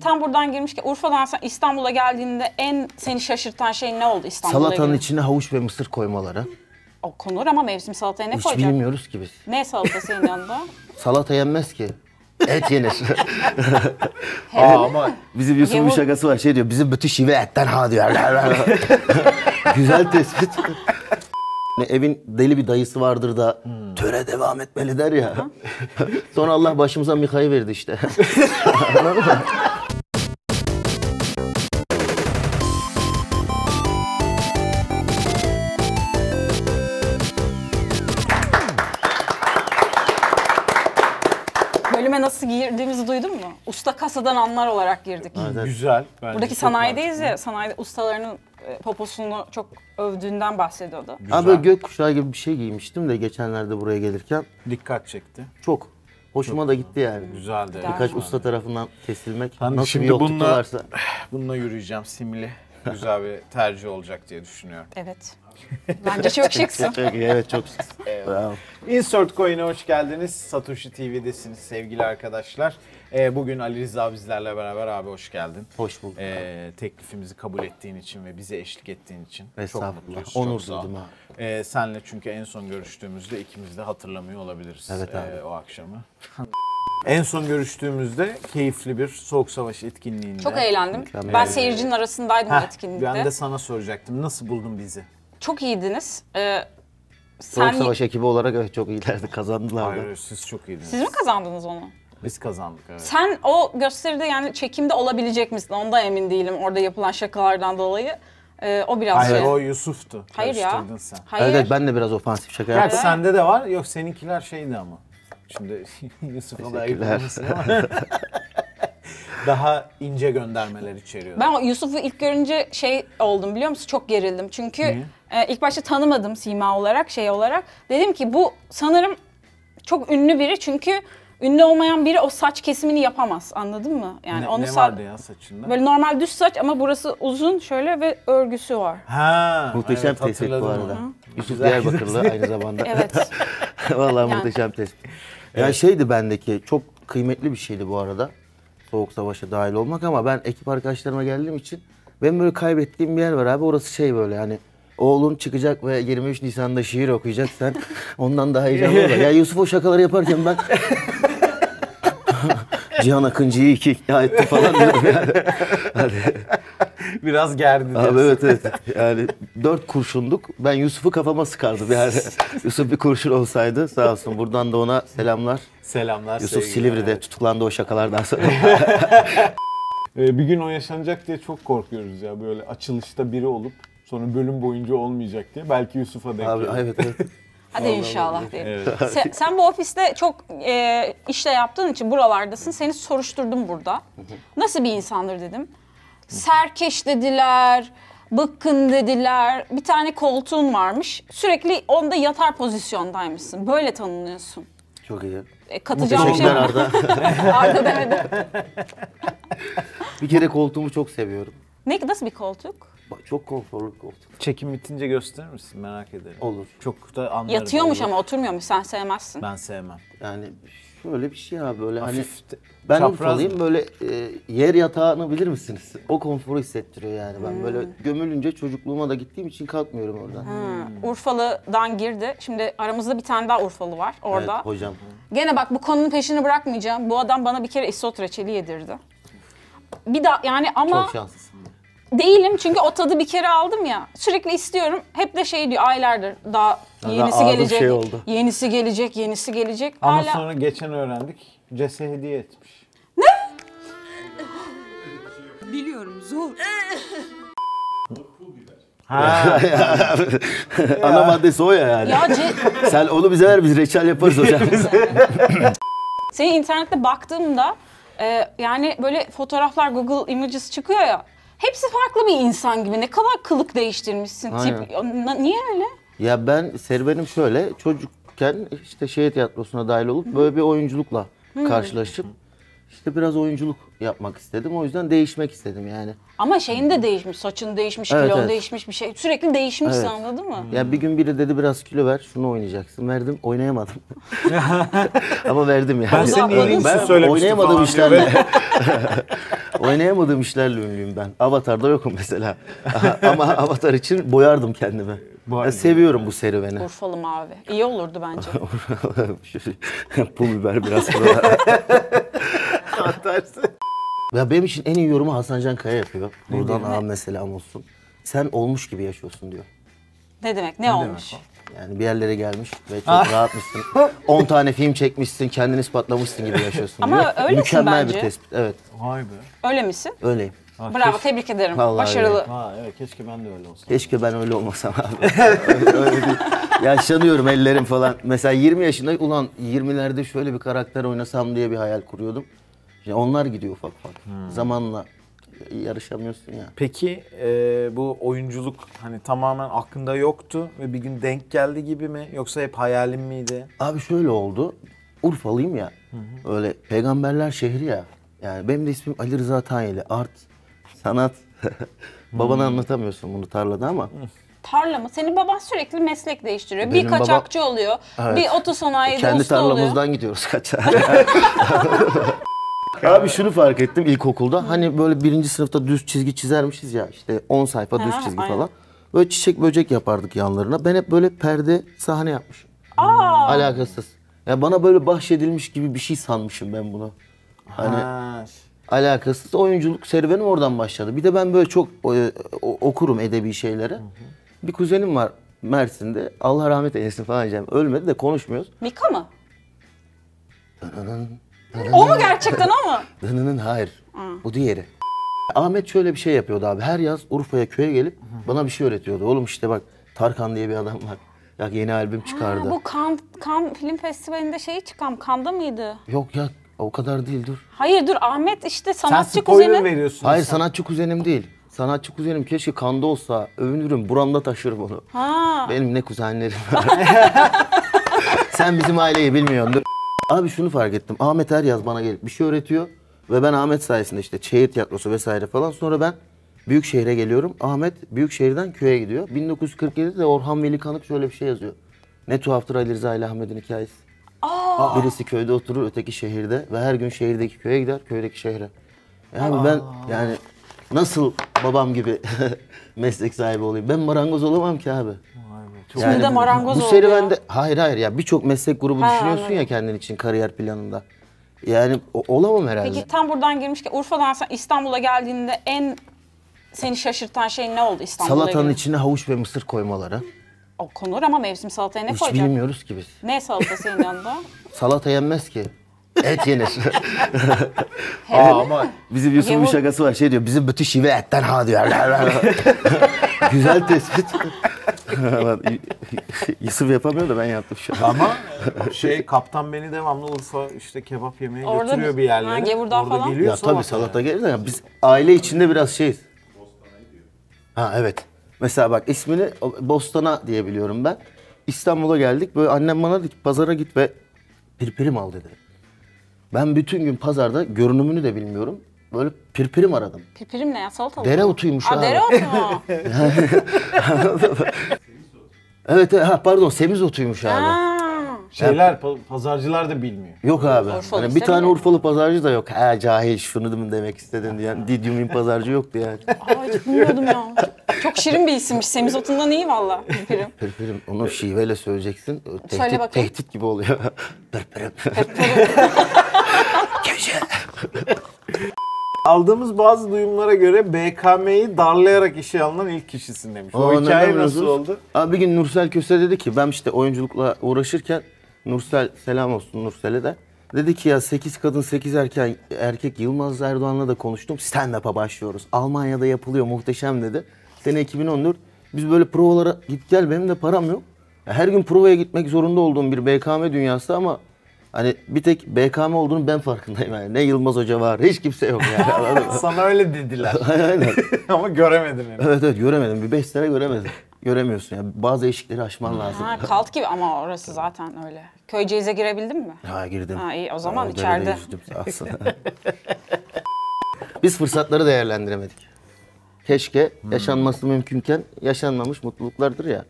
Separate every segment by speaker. Speaker 1: Tam buradan girmişken Urfa'dan sen İstanbul'a geldiğinde en seni şaşırtan şey ne oldu İstanbul'a?
Speaker 2: Salatanın
Speaker 1: gelince?
Speaker 2: içine havuç ve mısır koymaları.
Speaker 1: O konur ama mevsim salataya ne
Speaker 2: Hiç
Speaker 1: koyacaksın?
Speaker 2: bilmiyoruz ki biz.
Speaker 1: Ne salatası senin yanında?
Speaker 2: Salata yenmez ki. Et yenir.
Speaker 3: Aa, ama
Speaker 2: Bizim Yusuf'un
Speaker 1: Yavuz-
Speaker 2: şakası var. Şey diyor, bizim bütün şive etten ha diyor. Güzel tespit. Evin deli bir dayısı vardır da töre devam etmeli der ya. Sonra Allah başımıza Mika'yı verdi işte. Anladın mı?
Speaker 1: Bölüme nasıl girdiğimizi duydun mu? Usta kasadan anlar olarak girdik.
Speaker 3: güzel. Bence
Speaker 1: Buradaki
Speaker 3: çok
Speaker 1: sanayideyiz ya, sanayide ustalarının e, poposunu çok övdüğünden bahsediyordu.
Speaker 3: güzel.
Speaker 2: Abi böyle gökkuşağı gibi bir şey giymiştim de geçenlerde buraya gelirken.
Speaker 3: Dikkat çekti.
Speaker 2: Çok. Hoşuma da gitti yani.
Speaker 3: Güzeldi.
Speaker 2: Birkaç usta tarafından kesilmek
Speaker 3: Ben
Speaker 2: nasıl
Speaker 3: şimdi
Speaker 2: bir yoklukta
Speaker 3: bununla-
Speaker 2: varsa.
Speaker 3: Bununla yürüyeceğim simli. Güzel bir tercih olacak diye düşünüyorum.
Speaker 1: Evet. Bence çok şıksın.
Speaker 2: Çok iyi, evet çok. Bravo.
Speaker 3: Insert Coin'e hoş geldiniz. Satoshi TV'desiniz sevgili arkadaşlar. Ee, bugün Ali Rıza bizlerle beraber abi hoş geldin.
Speaker 2: Hoş bulduk.
Speaker 3: Ee, teklifimizi kabul ettiğin için ve bize eşlik ettiğin için çok
Speaker 2: Estağfurullah.
Speaker 3: mutluyuz.
Speaker 2: Onur
Speaker 3: çok sağ ol.
Speaker 2: duydum ha.
Speaker 3: Ee, senle çünkü en son görüştüğümüzde ikimiz de hatırlamıyor olabiliriz
Speaker 2: Evet abi.
Speaker 3: ee, o akşamı. en son görüştüğümüzde keyifli bir soğuk savaş etkinliğinde.
Speaker 1: Çok eğlendim.
Speaker 2: Mükemmel.
Speaker 1: Ben seyircinin arasındaydım
Speaker 3: Heh,
Speaker 1: o etkinlikte.
Speaker 3: Ben de sana soracaktım. Nasıl buldun bizi?
Speaker 1: Çok iyiydiniz. Ee, sen
Speaker 2: Soğuk Savaş ekibi olarak evet çok iyilerdi. Kazandılar da.
Speaker 3: Hayır, siz çok iyiydiniz.
Speaker 1: siz mi kazandınız onu?
Speaker 3: Biz kazandık evet.
Speaker 1: Sen o gösteride yani çekimde olabilecek misin? Onda emin değilim orada yapılan şakalardan dolayı. Ee, o biraz
Speaker 3: Hayır,
Speaker 1: şey.
Speaker 3: o Yusuf'tu.
Speaker 1: Hayır ya.
Speaker 3: Karıştırdın sen.
Speaker 1: Hayır.
Speaker 2: Evet, evet ben de biraz ofansif şaka
Speaker 3: Gerçi
Speaker 1: Ee?
Speaker 2: yaptım.
Speaker 3: sende de var. Yok seninkiler şeydi ama. Şimdi Yusuf'a da ayıp
Speaker 2: Teşekkürler.
Speaker 3: olmasın ama. Daha ince göndermeler içeriyor.
Speaker 1: Ben o Yusuf'u ilk görünce şey oldum biliyor musun? Çok gerildim. Çünkü e, ilk başta tanımadım sima olarak, şey olarak. Dedim ki bu sanırım çok ünlü biri çünkü ünlü olmayan biri o saç kesimini yapamaz. Anladın mı? Yani
Speaker 3: ne,
Speaker 1: onu
Speaker 3: ne
Speaker 1: sa-
Speaker 3: vardı ya saçında?
Speaker 1: böyle normal düz saç ama burası uzun şöyle ve örgüsü var.
Speaker 3: Ha,
Speaker 2: Muhteşem
Speaker 3: evet,
Speaker 2: tespit bu
Speaker 3: hatırladım
Speaker 2: arada.
Speaker 3: onu.
Speaker 2: Yusuf
Speaker 3: Güzel.
Speaker 2: Diyarbakırlı aynı zamanda.
Speaker 1: Evet.
Speaker 2: Vallahi
Speaker 1: Yani.
Speaker 2: muhteşem tespit. Yani şeydi bendeki çok kıymetli bir şeydi bu arada. Soğuk Savaş'a dahil olmak ama ben ekip arkadaşlarıma geldiğim için ben böyle kaybettiğim bir yer var abi. Orası şey böyle hani oğlun çıkacak ve 23 Nisan'da şiir okuyacak sen ondan daha heyecanlı olur. Ya Yusuf o şakaları yaparken ben Cihan Akıncı'yı iki ikna etti falan diyorum yani.
Speaker 3: Biraz gerdi. diyorsun.
Speaker 2: Abi evet evet. Yani dört kurşunduk. Ben Yusuf'u kafama sıkardım yani. Yusuf bir kurşun olsaydı sağ olsun. Buradan da ona selamlar.
Speaker 3: Selamlar
Speaker 2: Yusuf
Speaker 3: sevgiler.
Speaker 2: Silivri'de tutuklandı o şakalardan sonra.
Speaker 3: Ee, bir gün o yaşanacak diye çok korkuyoruz ya böyle açılışta biri olup sonra bölüm boyunca olmayacak diye. Belki Yusuf'a denk
Speaker 2: Abi
Speaker 3: gelir.
Speaker 2: evet evet.
Speaker 1: Hadi inşallah diyelim.
Speaker 3: Evet.
Speaker 1: Sen, sen bu ofiste çok e, işle yaptığın için buralardasın. Seni soruşturdum burada. Nasıl bir insandır dedim. Serkeş dediler, bıkkın dediler. Bir tane koltuğun varmış. Sürekli onda yatar pozisyondaymışsın. Böyle tanınıyorsun.
Speaker 2: Çok iyi.
Speaker 1: E, katacağım bir şey
Speaker 2: Teşekkürler
Speaker 1: var.
Speaker 2: Arda.
Speaker 1: Arda demedi.
Speaker 2: Bir kere koltuğumu çok seviyorum.
Speaker 1: Ne, nasıl bir koltuk?
Speaker 2: Bak, Çok konforlu bir koltuk.
Speaker 3: Çekim bitince gösterir misin? Merak ederim.
Speaker 2: Olur.
Speaker 3: Çok da anlarım.
Speaker 1: Yatıyormuş
Speaker 3: Olur.
Speaker 1: ama oturmuyormuş. Sen sevmezsin.
Speaker 3: Ben sevmem.
Speaker 2: Yani şöyle bir şey abi böyle hani
Speaker 3: Hafif de-
Speaker 2: ben
Speaker 3: çapraz
Speaker 2: Urfalıyım
Speaker 3: mı?
Speaker 2: böyle e, yer yatağını bilir misiniz? O konforu hissettiriyor yani ben böyle
Speaker 1: Hmm.
Speaker 2: gömülünce çocukluğuma da gittiğim için kalkmıyorum oradan.
Speaker 1: Hı, Hmm. Urfalı'dan girdi. Şimdi aramızda bir tane daha Urfalı var orada.
Speaker 2: Evet hocam.
Speaker 1: Gene bak bu konunun peşini bırakmayacağım. Bu adam bana bir kere isot reçeli yedirdi. Bir daha yani ama
Speaker 2: Çok şanslısın.
Speaker 1: değilim çünkü o tadı bir kere aldım ya. Sürekli istiyorum. Hep de şey diyor aylardır daha
Speaker 2: daha
Speaker 1: yenisi
Speaker 2: ağzım
Speaker 1: gelecek.
Speaker 2: şey oldu.
Speaker 1: Yenisi gelecek, yenisi gelecek.
Speaker 3: Ama
Speaker 1: Hala
Speaker 3: sonra geçen öğrendik. Cese hediye etmiş.
Speaker 4: Biliyorum zor.
Speaker 3: Ha,
Speaker 2: Ana maddesi o ya yani.
Speaker 1: ya ce-
Speaker 2: Sen onu bize ver biz reçel yaparız hocam.
Speaker 1: senin internette baktığımda e, yani böyle fotoğraflar Google Images çıkıyor ya. Hepsi farklı bir insan gibi. Ne kadar kılık değiştirmişsin. Tip, Na- niye öyle?
Speaker 2: Ya ben serüvenim şöyle çocukken işte şehir tiyatrosuna dahil olup böyle bir oyunculukla karşılaşıp işte biraz oyunculuk yapmak istedim. O yüzden değişmek istedim yani.
Speaker 1: Ama şeyin de değişmiş, saçın değişmiş,
Speaker 2: Evet,
Speaker 1: kilon
Speaker 2: evet.
Speaker 1: değişmiş bir şey. Sürekli değişmiş
Speaker 2: Evet.
Speaker 1: anladın mı?
Speaker 2: Ya bir gün biri dedi biraz kilo ver şunu oynayacaksın. Verdim oynayamadım. Ama verdim yani.
Speaker 3: Ben senin iyiliğin için
Speaker 2: Ben
Speaker 3: söylemiştim
Speaker 2: Oynayamadığım
Speaker 3: falan diyor.
Speaker 2: işlerle. Oynayamadığım işlerle ünlüyüm ben. Avatar'da yokum mesela. Ama Avatar için boyardım kendimi.
Speaker 5: Vay
Speaker 2: Ben
Speaker 5: be.
Speaker 2: seviyorum bu serüveni.
Speaker 1: Urfalı mavi. İyi olurdu bence.
Speaker 2: Pul biber biraz buralara. Atarsın. Ya benim için en iyi yorumu Hasan Can Kaya yapıyor. Buradan ağam meselam olsun. Sen olmuş gibi yaşıyorsun diyor.
Speaker 1: Ne demek? Ne, olmuş?
Speaker 2: Yani bir yerlere gelmiş ve
Speaker 1: Ah.
Speaker 2: çok rahatmışsın. 10 tane film çekmişsin, kendini ispatlamışsın gibi yaşıyorsun
Speaker 1: Ama
Speaker 2: diyor.
Speaker 1: öylesin
Speaker 2: Mükemmel
Speaker 1: bence.
Speaker 2: bir tespit. Evet,
Speaker 5: Vay be.
Speaker 1: Öyle misin?
Speaker 2: öyleyim.
Speaker 1: Bravo, tebrik ederim.
Speaker 2: Vallahi
Speaker 1: Başarılı.
Speaker 5: Ha evet keşke ben de öyle olsam.
Speaker 2: Keşke ben öyle olmasam abi. öyle, öyle değil. Yaşlanıyorum ellerim falan. Mesela 20 yaşında ulan 20'lerde şöyle bir karakter oynasam diye bir hayal kuruyordum. İşte onlar gidiyor ufak ufak. Zamanla yarışamıyorsun ya.
Speaker 3: Peki e, bu oyunculuk hani tamamen aklında yoktu ve bir gün denk geldi gibi mi yoksa hep hayalim miydi?
Speaker 2: Abi şöyle oldu. Urfalıyım ya. Öyle peygamberler şehri ya. Yani benim de ismim Ali Rıza Tanyeli. Art, sanat. Babana anlatamıyorsun bunu tarlada ama.
Speaker 1: Tarla mı? Senin baban sürekli meslek değiştiriyor.
Speaker 2: Benim
Speaker 1: bir
Speaker 2: baba-
Speaker 1: kaçakçı oluyor. Bir otosanayide
Speaker 2: Kendi
Speaker 1: usta
Speaker 2: tarlamızdan
Speaker 1: oluyor.
Speaker 2: gidiyoruz kaçağa. Abi şunu fark ettim ilkokulda. Hani böyle birinci sınıfta düz çizgi çizermişiz ya. işte 10 sayfa düz
Speaker 1: Ha,
Speaker 2: çizgi
Speaker 1: aynen.
Speaker 2: falan. Böyle çiçek böcek yapardık yanlarına. Ben hep böyle perde sahne yapmışım.
Speaker 1: Aa,
Speaker 2: Alakasız. Ya bana böyle bahşedilmiş gibi bir şey sanmışım ben bunu. Hani
Speaker 3: Ha,
Speaker 2: alakasız oyunculuk serüvenim oradan başladı. Bir de ben böyle çok e, o- okurum edebi şeyleri. Bir kuzenim var Mersin'de. Allah rahmet eylesin falan diyeceğim. Ölmedi de konuşmuyoruz.
Speaker 1: Mika mı? o mu gerçekten o mu?
Speaker 2: Dınının hayır. Bu diğeri. Ahmet şöyle bir şey yapıyordu abi. Her yaz Urfa'ya köye gelip bana bir şey öğretiyordu. Oğlum işte bak Tarkan diye bir adam var. Ya yeni albüm çıkardı.
Speaker 1: Ha, bu kan, kan Film Festivali'nde şeyi çıkan Kanda mıydı?
Speaker 2: Yok ya o kadar değil dur.
Speaker 1: Hayır dur Ahmet işte
Speaker 3: sen
Speaker 1: sanatçı
Speaker 3: spoiler
Speaker 1: kuzeni.
Speaker 3: veriyorsun.
Speaker 2: Hayır
Speaker 3: sen.
Speaker 2: sanatçı kuzenim değil. Sanatçı kuzenim keşke kanda olsa övünürüm. Buramda taşırım onu.
Speaker 1: Ha.
Speaker 2: Benim ne kuzenlerim var. Sen bizim aileyi bilmiyorsun. dur. Abi şunu fark ettim. Ahmet her yaz bana gelip bir şey öğretiyor. Ve ben Ahmet sayesinde işte şehir tiyatrosu vesaire falan. Sonra ben büyük şehre geliyorum. Ahmet büyük şehirden köye gidiyor. 1947'de Orhan Veli Kanık şöyle bir şey yazıyor. Ne tuhaftır Ali Rıza ile Ahmet'in hikayesi. Birisi köyde oturur, öteki şehirde ve her gün şehirdeki köye gider, köydeki şehre. Yani ben yani nasıl babam gibi meslek sahibi olayım? Ben marangoz olamam ki abi.
Speaker 1: Şimdi de marangoz
Speaker 2: bu
Speaker 1: oldu
Speaker 2: serüvende hayır hayır ya birçok meslek grubu
Speaker 1: Ha,
Speaker 2: düşünüyorsun
Speaker 1: anladım.
Speaker 2: ya kendin için kariyer planında. Yani o- olamam herhalde.
Speaker 1: Peki tam buradan girmişken Urfa'dan sen İstanbul'a geldiğinde en seni şaşırtan şey ne oldu İstanbul'a
Speaker 2: Salatanın
Speaker 1: gelince?
Speaker 2: içine havuç ve mısır koymaları.
Speaker 1: O konur ama mevsim salataya ne
Speaker 2: Hiç
Speaker 1: koyacak?
Speaker 2: bilmiyoruz ki biz.
Speaker 1: Ne salatası senin yanında?
Speaker 2: Salata yenmez ki. Et yenir.
Speaker 3: Aa, ama
Speaker 2: Bizim Yusuf'un bir
Speaker 1: Yavuz-
Speaker 2: şakası var. Şey diyor, bizim bütün şive etten ha diyor. Güzel tespit. Lan, Yusuf yapamıyor da ben yaptım şu an.
Speaker 3: ama şey kaptan beni devamlı Urfa işte kebap yemeye
Speaker 1: Orada
Speaker 3: götürüyor
Speaker 1: bir-
Speaker 3: bir yerlere.
Speaker 1: Ha, Gevurdağ
Speaker 3: Orada
Speaker 1: falan.
Speaker 3: geliyor
Speaker 2: Ya tabii salata gelir de ya biz aile içinde biraz şeyiz. Ha evet. Mesela bak ismini o- Bostan'a diye biliyorum ben. İstanbul'a geldik. Böyle annem bana dedi ki pazara git ve pirpirim al dedi. Ben bütün gün pazarda görünümünü de bilmiyorum. Böyle pirpirim aradım.
Speaker 1: Pipirim ne ya salatalık?
Speaker 2: Dereotuymuş
Speaker 1: Aa
Speaker 2: abi.
Speaker 1: dereotu mu?
Speaker 2: Evet evet, ha, pardon semizotuymuş abi.
Speaker 1: Ha.
Speaker 5: Şeyler pa- pazarcılar da bilmiyor.
Speaker 2: Yok abi.
Speaker 1: Urfalı
Speaker 2: Hani bir
Speaker 1: ise
Speaker 2: tane
Speaker 1: bile.
Speaker 2: Urfalı pazarcı da yok. Ha cahil şunu mu demek istedin diyen Didyum'un pazarcı yoktu yani.
Speaker 1: Ay hiç bilmiyordum ya. Çok şirin bir isimmiş. Semizotundan iyi valla pipirim.
Speaker 2: Pırpırım onu şiveyle söyleyeceksin. O
Speaker 1: bakayım.
Speaker 2: Tehdit, tehdit gibi oluyor. Pırpırım. Köşe.
Speaker 3: Aldığımız bazı duyumlara göre BKM'yi darlayarak işe alınan ilk kişisin demiş. O,
Speaker 2: Aa,
Speaker 3: hikaye
Speaker 2: neden
Speaker 3: nasıl
Speaker 2: biliyorsunuz?
Speaker 3: oldu?
Speaker 2: Abi bir gün Nursel Köse dedi ki ben işte oyunculukla uğraşırken Nursel selam olsun Nursel'e de. Dedi ki ya 8 kadın 8 erkek, erkek Yılmaz Erdoğan'la da konuştum. Stand-up'a başlıyoruz. Almanya'da yapılıyor muhteşem dedi. Sene 2014. Biz böyle provalara git gel benim de param yok. Ya Her gün provaya gitmek zorunda olduğum bir BKM dünyası ama hani bir tek BKM olduğunu ben farkındayım. Yani ne Yılmaz Hoca var hiç kimse yok yani. Anladın mı?
Speaker 3: Sana öyle dediler
Speaker 2: Aynen.
Speaker 3: ama göremedin henüz.
Speaker 2: Evet evet göremedim. Bir beş sene göremedim. Göremiyorsun ya. Bazı eşikleri aşman lazım.
Speaker 1: Ha kalt gibi ama orası zaten öyle. Köyceğiz'e girebildin mi?
Speaker 2: Ha girdim.
Speaker 1: Ha, iyi, o zaman
Speaker 2: derede
Speaker 1: içeride.
Speaker 2: yüzdüm sağ olsun. Biz fırsatları değerlendiremedik. Keşke
Speaker 3: Hmm.
Speaker 2: yaşanması mümkünken yaşanmamış mutluluklardır ya.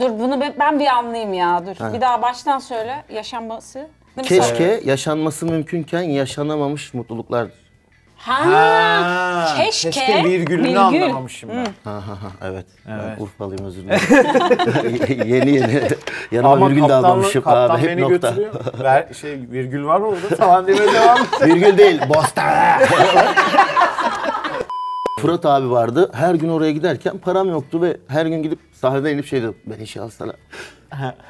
Speaker 1: Dur bunu be- ben bir anlayayım ya dur. Bir daha baştan söyle yaşanması. Değil mi?
Speaker 2: Keşke yaşanması mümkünken yaşanamamış mutluluklardır.
Speaker 1: Ha,
Speaker 3: Ha,
Speaker 1: keşke,
Speaker 3: virgülünü
Speaker 1: virgül.
Speaker 3: anlamamışım ben.
Speaker 2: Ha, ha, ha, evet.
Speaker 3: Evet.
Speaker 2: Ben Urfalıyım özür dilerim. yeni yeni. Yanıma
Speaker 3: Ama
Speaker 2: virgül de
Speaker 3: kaptanlı-
Speaker 2: almamışım
Speaker 3: kaptan
Speaker 2: abi. Hep
Speaker 3: beni
Speaker 2: nokta.
Speaker 3: götürüyor. Ver, şey virgül var orada falan demeye devam et.
Speaker 2: Virgül değil. Bostan. Fırat abi vardı. Her gün oraya giderken param yoktu ve her gün gidip sahneden inip şey dedim. Beni işe alsana.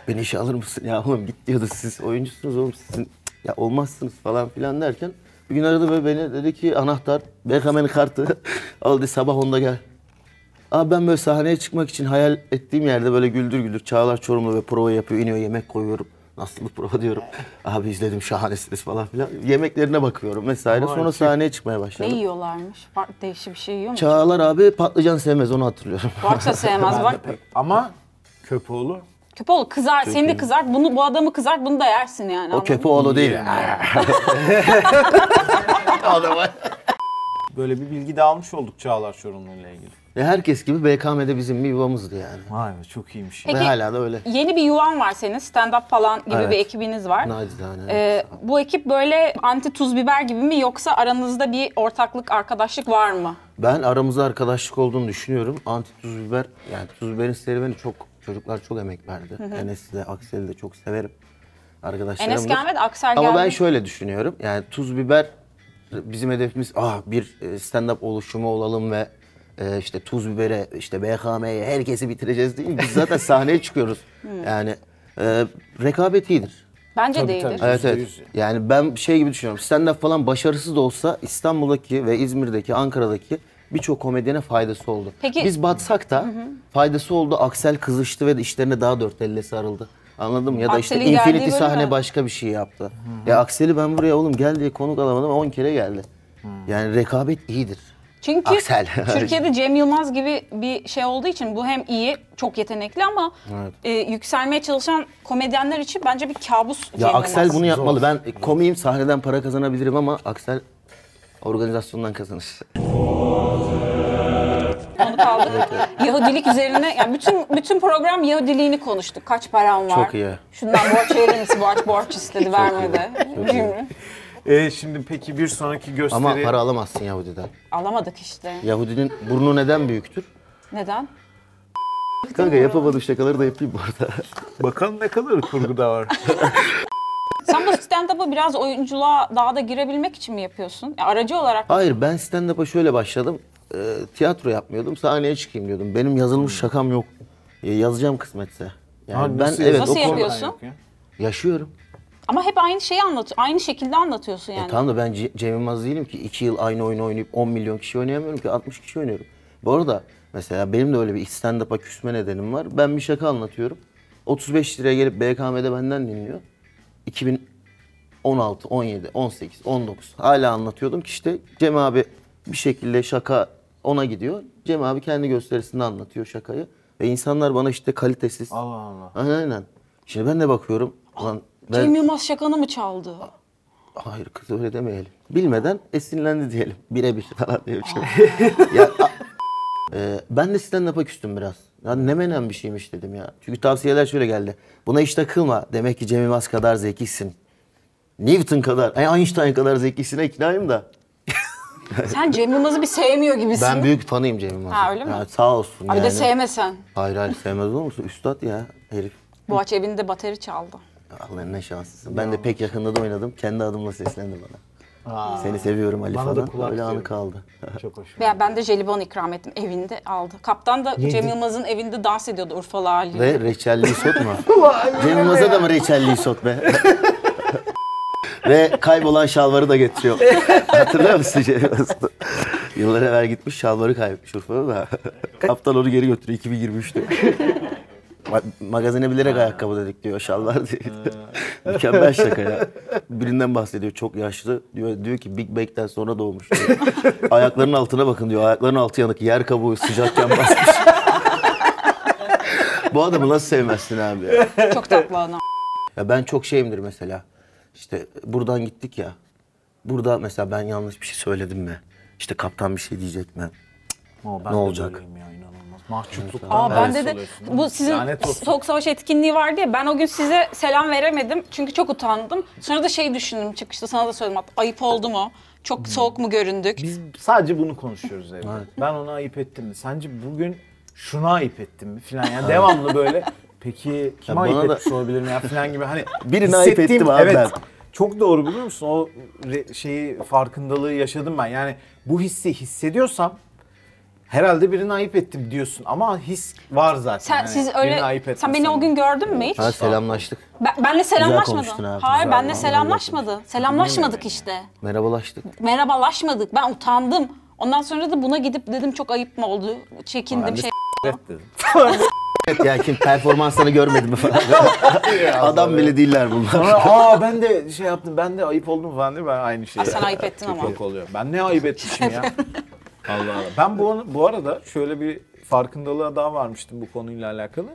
Speaker 2: Beni işe alır mısın? Ya oğlum git diyordu. Siz oyuncusunuz oğlum. Sizin ya olmazsınız falan filan derken. Bir gün aradı ve beni dedi ki anahtar, Berkamen'in kartı. Al dedi sabah onda gel. Abi ben böyle sahneye çıkmak için hayal ettiğim yerde böyle güldür güldür Çağlar Çorumlu ve prova yapıyor. iniyor yemek koyuyorum. Nasıl bir prova diyorum. Abi izledim şahanesiniz falan filan. Yemeklerine bakıyorum vesaire. Sonra sahneye çıkmaya
Speaker 1: Ne
Speaker 2: başladım.
Speaker 1: yiyorlarmış? Farklı değişik bir şey yiyor mu?
Speaker 2: Çağlar abi patlıcan sevmez onu hatırlıyorum.
Speaker 1: Varsa sevmez var.
Speaker 3: Ama köpoğlu
Speaker 1: Köpoğlu kızar, seni de kızar, bunu bu adamı kızar, bunu da yersin yani. anladın
Speaker 2: o
Speaker 1: mı?
Speaker 2: köpoğlu değil.
Speaker 3: böyle bir bilgi de almış olduk Çağlar Çorumlu'yla ilgili.
Speaker 2: Ve E, herkes gibi BKM'de bizim bir yuvamızdı yani.
Speaker 3: Vay be çok iyiymiş.
Speaker 2: Ve hala da öyle.
Speaker 1: Yeni bir yuvan var senin, stand-up falan gibi
Speaker 2: Evet.
Speaker 1: bir ekibiniz var.
Speaker 2: Nacizane.
Speaker 1: Ee, bu ekip böyle anti tuz biber gibi mi yoksa aranızda bir ortaklık, arkadaşlık var mı?
Speaker 2: Ben aramızda arkadaşlık olduğunu düşünüyorum. Anti tuz biber, yani tuz biberin serüveni çok, çocuklar çok emek verdi. Enes'i de Aksel'i de çok severim. Arkadaşlarım
Speaker 1: Enes gelmedi, Aksel
Speaker 2: Ama ben
Speaker 1: geldi.
Speaker 2: şöyle düşünüyorum. Yani tuz biber bizim hedefimiz ah bir e, stand-up oluşumu olalım ve e, işte tuz bibere, işte BKM'ye herkesi bitireceğiz değil mi? Biz zaten sahneye çıkıyoruz. yani e, rekabet iyidir.
Speaker 1: Bence
Speaker 3: Tabii,
Speaker 1: değildir.
Speaker 3: tabii.
Speaker 2: Evet
Speaker 3: Yüzde
Speaker 2: evet.
Speaker 3: yüz yani.
Speaker 2: Yani ben şey gibi düşünüyorum. Stand-up falan başarısız da olsa İstanbul'daki ve İzmir'deki, Ankara'daki birçok komedyene faydası oldu.
Speaker 1: Peki-
Speaker 2: Biz batsak da faydası oldu. Aksel kızıştı ve de işlerine daha dört elle sarıldı. Anladın mı? Ya da işte
Speaker 1: Aksel'in geldiği
Speaker 2: Infinity
Speaker 1: bölüm
Speaker 2: sahne
Speaker 1: mü?
Speaker 2: başka bir şey yaptı. Ya Aksel'i ben buraya oğlum gel diye konuk alamadım 10 kere geldi.
Speaker 3: Hmm.
Speaker 2: Yani rekabet iyidir.
Speaker 1: Çünkü
Speaker 2: Aksel.
Speaker 1: Türkiye'de Cem Yılmaz gibi bir şey olduğu için bu hem iyi, çok yetenekli ama
Speaker 2: Evet.
Speaker 1: e, yükselmeye çalışan komedyenler için bence bir kabus
Speaker 2: Ya
Speaker 1: Cem
Speaker 2: Aksel
Speaker 1: Yılmaz.
Speaker 2: bunu yapmalı. Ben komiyim sahneden para kazanabilirim ama Aksel organizasyondan kazanır.
Speaker 1: Onu kaldırdık. Yahudilik üzerine yani bütün bütün program Yahudiliğini konuştuk. Kaç param var?
Speaker 2: Çok iyi.
Speaker 1: Şundan borç verir misin? Borç, borç istedi vermedi. Cümle.
Speaker 3: Ee, şimdi peki bir sonraki gösteri
Speaker 2: Ama para alamazsın Yahudi'den.
Speaker 1: Alamadık işte.
Speaker 2: Yahudinin burnu neden büyüktür?
Speaker 1: Neden?
Speaker 2: Kanka yapamadım şakaları da yapayım bu arada.
Speaker 3: bakalım ne kadar kurguda var.
Speaker 1: Sen bu stand-up'ı biraz oyunculuğa daha da girebilmek için mi yapıyorsun? Ya aracı olarak
Speaker 2: Hayır ben stand-up'a şöyle başladım. Ee, tiyatro yapmıyordum. Sahneye çıkayım diyordum. Benim yazılmış şakam yok. Ee, yazacağım kısmetse. Yani
Speaker 3: Ha,
Speaker 2: ben
Speaker 3: nasıl
Speaker 2: evet
Speaker 1: Nasıl
Speaker 2: o konuda
Speaker 1: yapıyorsun?
Speaker 2: yaşıyorum.
Speaker 1: ama hep aynı şeyi anlat, aynı şekilde anlatıyorsun yani.
Speaker 2: E, tamam da ben C- Cem Yılmaz değilim ki. 2 yıl aynı oyunu oynayıp 10 milyon kişi oynayamıyorum ki. 60 kişi oynuyorum. Bu arada mesela benim de öyle bir stand-up'a küsme nedenim var. Ben bir şaka anlatıyorum. 35 liraya gelip BKM'de benden dinliyor. 2016, 17, 18, 19 hala anlatıyordum ki işte Cem abi bir şekilde şaka ona gidiyor. Cem abi kendi gösterisinde anlatıyor şakayı. Ve insanlar bana işte kalitesiz.
Speaker 3: Allah Allah.
Speaker 2: Aynen aynen. Şimdi ben de bakıyorum. Ulan ben...
Speaker 1: Cem Yılmaz şakanı mı çaldı?
Speaker 2: Hayır kız öyle demeyelim. Bilmeden esinlendi diyelim. Birebir falan diye bir şey. ya, a- Ee, ben de stand-up'a küstüm biraz. Ya ne menem bir şeymiş dedim ya. Çünkü tavsiyeler şöyle geldi. Buna hiç takılma. Demek ki Cem Yılmaz kadar zekisin. Newton kadar, ay Einstein kadar zekisine iknayım da.
Speaker 1: Sen Cem Yılmaz'ı bir sevmiyor gibisin.
Speaker 2: Ben büyük fanıyım Cem Yılmaz'ın.
Speaker 1: Ha, öyle mi?
Speaker 2: Ya, sağ olsun
Speaker 1: Abi
Speaker 2: yani.
Speaker 1: de şey- sevmesen.
Speaker 2: Hayır hayır sevmez olur musun? Üstad ya herif.
Speaker 1: Boğaç evinde bateri çaldı.
Speaker 2: Allah'ın ne şanslısın. Ben de pek yakında da oynadım. Kendi adımla seslendi bana. Seni seviyorum Ali
Speaker 3: Bana da
Speaker 2: falan.
Speaker 3: kulak
Speaker 2: Öyle anı
Speaker 3: diyorum.
Speaker 2: kaldı.
Speaker 3: Çok hoş.
Speaker 1: Veya ben de jelibon ikram ettim evinde aldı. Kaptan da Cem Yılmaz'ın evinde dans ediyordu Urfalı haliyle.
Speaker 2: Ve reçelli isot mu? Cem Yılmaz'a da mı reçelli isot be? Ve kaybolan şalvarı da getiriyor. Hatırlıyor musun Cem Yılmaz'ı? Yıllar evvel gitmiş şalvarı kaybetmiş Urfa'da da. Kaptan onu geri götürüyor 2023'te. Ma- magazine bilerek ayakkabı dedik diyor şalvar değil. Mükemmel şaka ya. Birinden bahsediyor çok yaşlı. Diyor, diyor ki Big Bang'den sonra doğmuş diyor. Ayaklarının altına bakın diyor. Ayaklarının altı yanık yer kabuğu sıcakken basmış. Bu adamı nasıl sevmezsin abi ya?
Speaker 1: Çok tatlı adam.
Speaker 2: Ya ben çok şeyimdir mesela. İşte buradan gittik ya. Burada mesela ben yanlış bir şey söyledim mi? İşte kaptan bir şey diyecek mi?
Speaker 3: Ama ben
Speaker 2: Ne
Speaker 3: de
Speaker 2: olacak?
Speaker 3: böyleyim ya inanılmaz. Mahcupluktan.
Speaker 1: Aa
Speaker 3: ben
Speaker 1: bende de
Speaker 3: oluyorsun.
Speaker 1: bu sizin
Speaker 3: Lanet olsun.
Speaker 1: Soğuk Savaş etkinliği vardı ya ben o gün size selam veremedim çünkü çok utandım. Sonra da şey düşündüm çıkışta sana da söyledim hatta, ayıp oldu mu? Çok soğuk mu göründük?
Speaker 3: Biz sadece bunu konuşuyoruz evde. Ben ona ayıp ettim mi? Sence bugün şuna ayıp ettim mi filan yani devamlı böyle peki kime
Speaker 2: Ya
Speaker 3: ayıp
Speaker 2: bana da-
Speaker 3: etmiş olabilirim ya filan gibi hani
Speaker 2: Birine ayıp
Speaker 3: hissettiğim-
Speaker 2: ettim abi
Speaker 3: evet,
Speaker 2: ben.
Speaker 3: Çok doğru biliyor musun? O re- şeyi farkındalığı yaşadım ben. Yani bu hissi hissediyorsam herhalde birine ayıp ettim diyorsun ama his var zaten.
Speaker 1: Sen
Speaker 3: Yani
Speaker 1: siz
Speaker 3: birine
Speaker 1: öyle
Speaker 3: ayıp
Speaker 1: sen beni
Speaker 3: etmesen
Speaker 1: o
Speaker 3: de.
Speaker 1: gün gördün mü hiç?
Speaker 2: Ha selamlaştık.
Speaker 1: Ben, benle selamlaşmadın.
Speaker 2: konuştun abi,
Speaker 1: Hayır
Speaker 2: güzel.
Speaker 1: benle
Speaker 2: Vallahi
Speaker 1: selamlaşmadı. Selamlaşmadık işte.
Speaker 2: Merhabalaştık.
Speaker 1: Merhabalaşmadık. Ben utandım. Ondan sonra da buna gidip dedim çok ayıp mı oldu? Çekindim
Speaker 3: Ben de
Speaker 1: şey.
Speaker 3: Evet dedim.
Speaker 2: ya kim performansını görmedi mi falan. Adam bile değiller bunlar.
Speaker 3: Sonra aa ben de şey yaptım ben de ayıp oldum falan diye ben aynı şeyi.
Speaker 1: Aa, sen ayıp ettin ama.
Speaker 3: Yok oluyor. Ben ne ayıp etmişim ya. Allah Allah. Ben bu, bu arada şöyle bir farkındalığa daha varmıştım bu konuyla alakalı.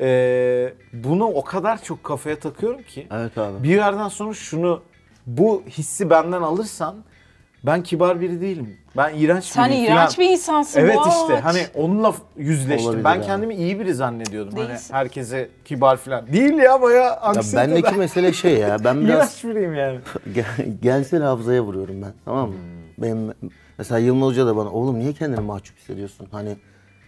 Speaker 3: Ee, bunu o kadar çok kafaya takıyorum ki.
Speaker 2: Evet abi.
Speaker 3: Bir yerden sonra şunu bu hissi benden alırsan ben kibar biri değilim. Ben iğrenç
Speaker 1: Sen
Speaker 3: biriyim
Speaker 1: iğrenç
Speaker 3: falan.
Speaker 1: bir insansın.
Speaker 3: Hani Evet
Speaker 1: Boğaç.
Speaker 3: işte hani onunla yüzleştim.
Speaker 2: Olabilir
Speaker 3: ben
Speaker 2: abi.
Speaker 3: kendimi iyi biri zannediyordum. Hani
Speaker 1: Değilsin.
Speaker 3: herkese kibar falan. Değil ya bayağı
Speaker 2: Ya
Speaker 3: aksine
Speaker 2: bendeki mesele şey ya. Ben biraz
Speaker 3: İğrenç biriyim yani.
Speaker 2: Gen- Gensel hafızaya vuruyorum ben tamam mı? Benim, mesela Yılmaz Hoca da bana oğlum niye kendini mahcup hissediyorsun? Hani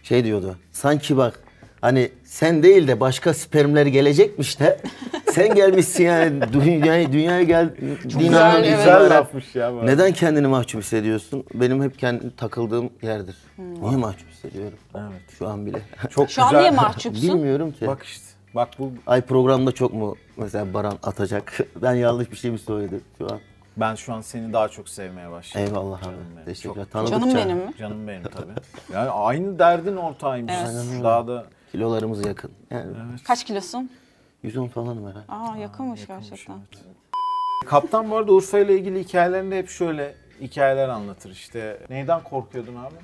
Speaker 2: şey diyordu sanki bak hani sen değil de başka spermler gelecekmiş de sen gelmişsin yani dünyaya, dünyaya geldiğin
Speaker 1: güzel,
Speaker 2: andan
Speaker 1: evet.
Speaker 5: Güzel
Speaker 2: itibaren
Speaker 5: lafmış ya. bu arada.
Speaker 2: Neden kendini mahcup hissediyorsun? Benim hep kendi takıldığım yerdir. Niye mahcup hissediyorum?
Speaker 3: Evet.
Speaker 2: Şu an bile.
Speaker 3: Çok
Speaker 1: Şu an
Speaker 3: güzel.
Speaker 1: niye mahcupsun?
Speaker 2: Bilmiyorum ki.
Speaker 3: Bak işte. Bak bu
Speaker 2: Ay programda çok mu mesela Baran atacak? ben yanlış bir şey mi söyledim şu an?
Speaker 3: ben şu an seni daha çok sevmeye başladım.
Speaker 2: Eyvallah abi.
Speaker 3: Canım benim.
Speaker 2: Teşekkürler.
Speaker 3: Çok-
Speaker 2: Tanıdıkça
Speaker 1: Canım benim mi?
Speaker 3: Canım benim tabii. Yani aynı derdin ortağıymış.
Speaker 1: Evet.
Speaker 3: Daha da
Speaker 2: kilolarımız yakın. Yani
Speaker 1: Kaç kilosun?
Speaker 2: 110 falanım herhalde.
Speaker 1: Aa yakınmış gerçekten.
Speaker 3: Kaptan bu arada Urfa ile ilgili hikayelerinde hep şöyle hikayeler anlatır işte. Neyden korkuyordun abi?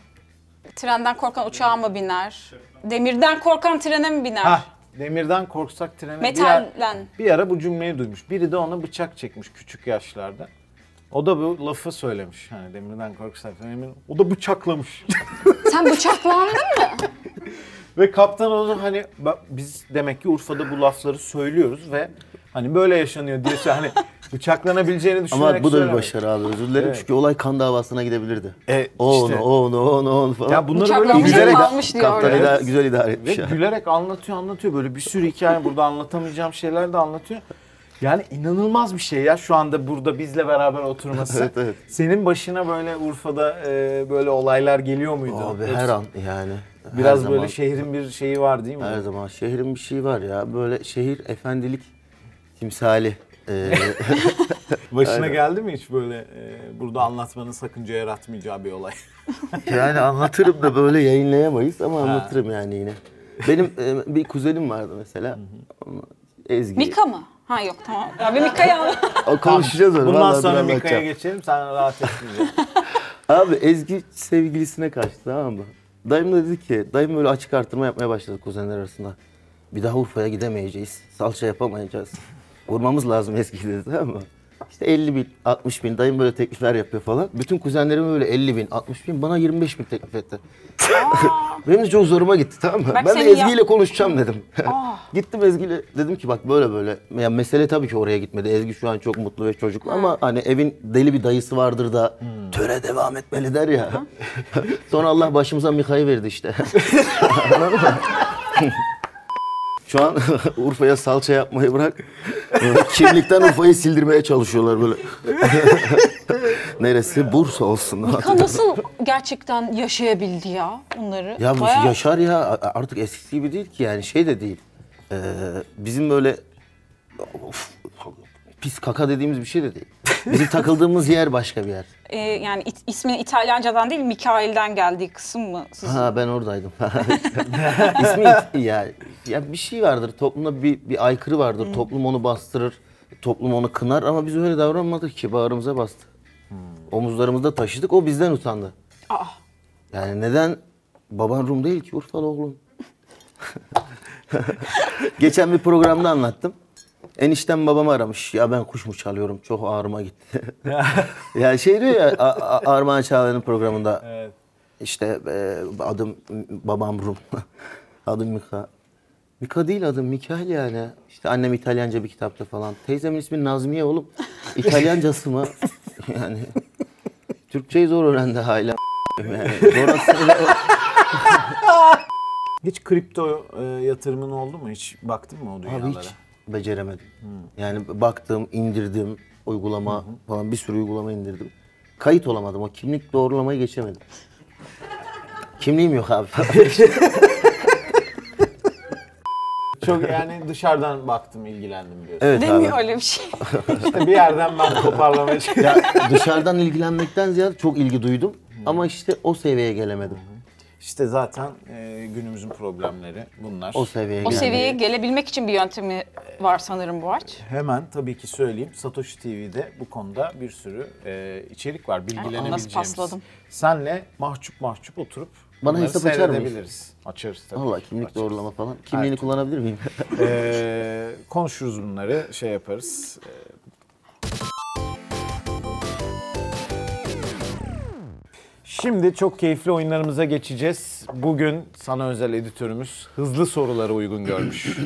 Speaker 1: Trenden korkan uçağa mı biner? Demirden korkan trene mi biner?
Speaker 3: Hah, demirden korksak trene bir, ara,
Speaker 1: Metalden.
Speaker 3: bir ara bu cümleyi duymuş. Biri de ona bıçak çekmiş küçük yaşlarda. O da bu lafı söylemiş. Hani demirden korksak trene O da bıçaklamış.
Speaker 1: Sen bıçaklandın mı?
Speaker 3: Ve kaptan onu hani bak biz demek ki Urfa'da bu lafları söylüyoruz ve hani böyle yaşanıyor diye şey- hani bıçaklanabileceğini düşünerek
Speaker 2: Ama bu da bir
Speaker 3: söylemedim.
Speaker 2: başarı abi özür dilerim
Speaker 3: Evet.
Speaker 2: çünkü olay kan davasına gidebilirdi.
Speaker 3: E,
Speaker 2: O
Speaker 3: işte.
Speaker 2: onu, o onu, o onu, o onu falan.
Speaker 3: Ya bunları böyle
Speaker 1: Bıçaklanmış
Speaker 3: gülerek,
Speaker 1: ama- Kalmış diyor
Speaker 2: Kaptan
Speaker 1: orada.
Speaker 2: ida- güzel idare
Speaker 3: ve
Speaker 2: etmiş yani.
Speaker 3: gülerek anlatıyor anlatıyor böyle bir sürü hikaye burada anlatamayacağım şeyler de anlatıyor. Yani inanılmaz bir şey ya şu anda burada bizle beraber oturması.
Speaker 2: Evet, evet.
Speaker 3: Senin başına böyle Urfa'da e, böyle olaylar geliyor muydu?
Speaker 2: Abi
Speaker 3: Yoksa
Speaker 2: her an yani. her
Speaker 3: Biraz böyle şey-
Speaker 2: zaman,
Speaker 3: şehrin bir şeyi var değil mi?
Speaker 2: Her zaman şehrin bir şeyi var ya böyle şehir efendilik timsali. Ee,
Speaker 3: Başına geldi mi hiç böyle e, burada anlatmanın sakınca yaratmayacağı bir olay?
Speaker 2: yani anlatırım da böyle yayınlayamayız ama anlatırım yani yine. Benim e, bir kuzenim vardı mesela. Ezgi.
Speaker 1: Mika mı? Ha yok tamam. Abi Mika'yı al.
Speaker 2: O konuşacağız onu.
Speaker 3: Bundan
Speaker 2: vallahi
Speaker 3: sonra
Speaker 2: biraz
Speaker 3: Mika'ya
Speaker 2: anlatacağım.
Speaker 3: geçelim sen rahat etmeyeceksin.
Speaker 2: Abi Ezgi sevgilisine kaçtı tamam mı? Dayım da dedi ki, dayım böyle açık artırma yapmaya başladı kuzenler arasında. Bir daha Urfa'ya gidemeyeceğiz, salça yapamayacağız. Vurmamız lazım Ezgi'yi dedi tamam mı? İşte 50 bin, 60 bin, dayım böyle teklifler yapıyor falan. Bütün kuzenlerim böyle 50 bin, 60 bin, bana 25 bin teklif etti. Benim de çok zoruma gitti tamam mı?
Speaker 1: Bak
Speaker 2: ben de
Speaker 1: senin ya- Ah.
Speaker 2: Ezgi'yle konuşacağım dedim. Gittim Ezgi'yle dedim ki bak böyle böyle. Ya mesele tabii ki oraya gitmedi. Ezgi şu an çok mutlu ve çocuklu ama hani evin deli bir dayısı vardır da töre devam etmeli der ya. Sonra Allah başımıza Mika'yı verdi işte. Anladın mı? Şu an Urfa'ya salça yapmayı bırak. Kimlikten Urfa'yı sildirmeye çalışıyorlar böyle. Neresi? Bursa olsun.
Speaker 1: Mika nasıl gerçekten yaşayabildi ya bunları?
Speaker 2: Ya bu
Speaker 1: Bayağı-
Speaker 2: Yaşar ya a- artık eskisi gibi değil ki yani şey de değil. Ee, bizim böyle of, pis kaka dediğimiz bir şey de değil. Bizim takıldığımız yer başka bir yer.
Speaker 1: Ee, yani it- ismini İtalyancadan değil Mikail'den geldiği kısım mı? Siz-
Speaker 2: Ha ben oradaydım. İsmi it- ya, ya bir şey vardır toplumda bir, bir aykırı vardır. Toplum onu bastırır, toplum onu kınar ama biz öyle davranmadık ki bağrımıza bastı. Omuzlarımızda taşıdık o bizden utandı.
Speaker 1: Aa,
Speaker 2: Yani neden baban Rum değil ki Urfalı oğlum? Geçen bir programda anlattım. Eniştem babamı aramış. Ya ben kuş mu çalıyorum? Çok ağrıma gitti. ya şey diyor ya A- A- Armağan Çağlayan'ın programında.
Speaker 3: Evet.
Speaker 2: İşte e, adım babam Rum. adım Mika. Mika değil adım Mikael yani. İşte annem İtalyanca bir kitapta falan. Teyzemin ismi Nazmiye oğlum. İtalyancası mı? yani Türkçeyi zor öğrendi hala. Yani zor aslında.
Speaker 3: Hiç kripto e, yatırımın oldu mu? Hiç baktın mı o dünyalara?
Speaker 2: Abi hiç beceremedim. Yani baktım, indirdim, uygulama falan bir sürü uygulama indirdim. Kayıt olamadım. O kimlik doğrulamayı geçemedim. Kimliğim yok abi.
Speaker 3: Çok yani dışarıdan baktım, ilgilendim diyorsun.
Speaker 2: evet abi.
Speaker 1: Demiyor öyle bir şey.
Speaker 3: İşte bir yerden ben toparlamaya çalışıyorum.
Speaker 2: Dışarıdan ilgilenmekten ziyade çok ilgi duydum. Ama işte o seviyeye gelemedim.
Speaker 3: İşte zaten e, günümüzün problemleri bunlar.
Speaker 2: O seviyeye
Speaker 1: O
Speaker 2: gelemedim.
Speaker 1: seviyeye gelebilmek için bir yöntemi var sanırım bu aç.
Speaker 3: Hemen tabii ki söyleyeyim. Satoshi TV'de bu konuda bir sürü e, içerik var. Bilgilenebileceğimiz.
Speaker 1: Nasıl pasladım?
Speaker 3: Senle mahcup mahcup oturup
Speaker 2: Bana
Speaker 3: bunları
Speaker 2: hesap açar mıyız?
Speaker 3: seyredebiliriz. Açarız tabii.
Speaker 2: Vallahi kimlik
Speaker 3: Açarız.
Speaker 2: doğrulama falan. Kimliğini
Speaker 3: Her türlü.
Speaker 2: kullanabilir miyim?
Speaker 3: E, konuşuruz bunları, şey yaparız. E, Şimdi çok keyifli oyunlarımıza geçeceğiz. Bugün sana özel editörümüz hızlı sorulara uygun görmüş.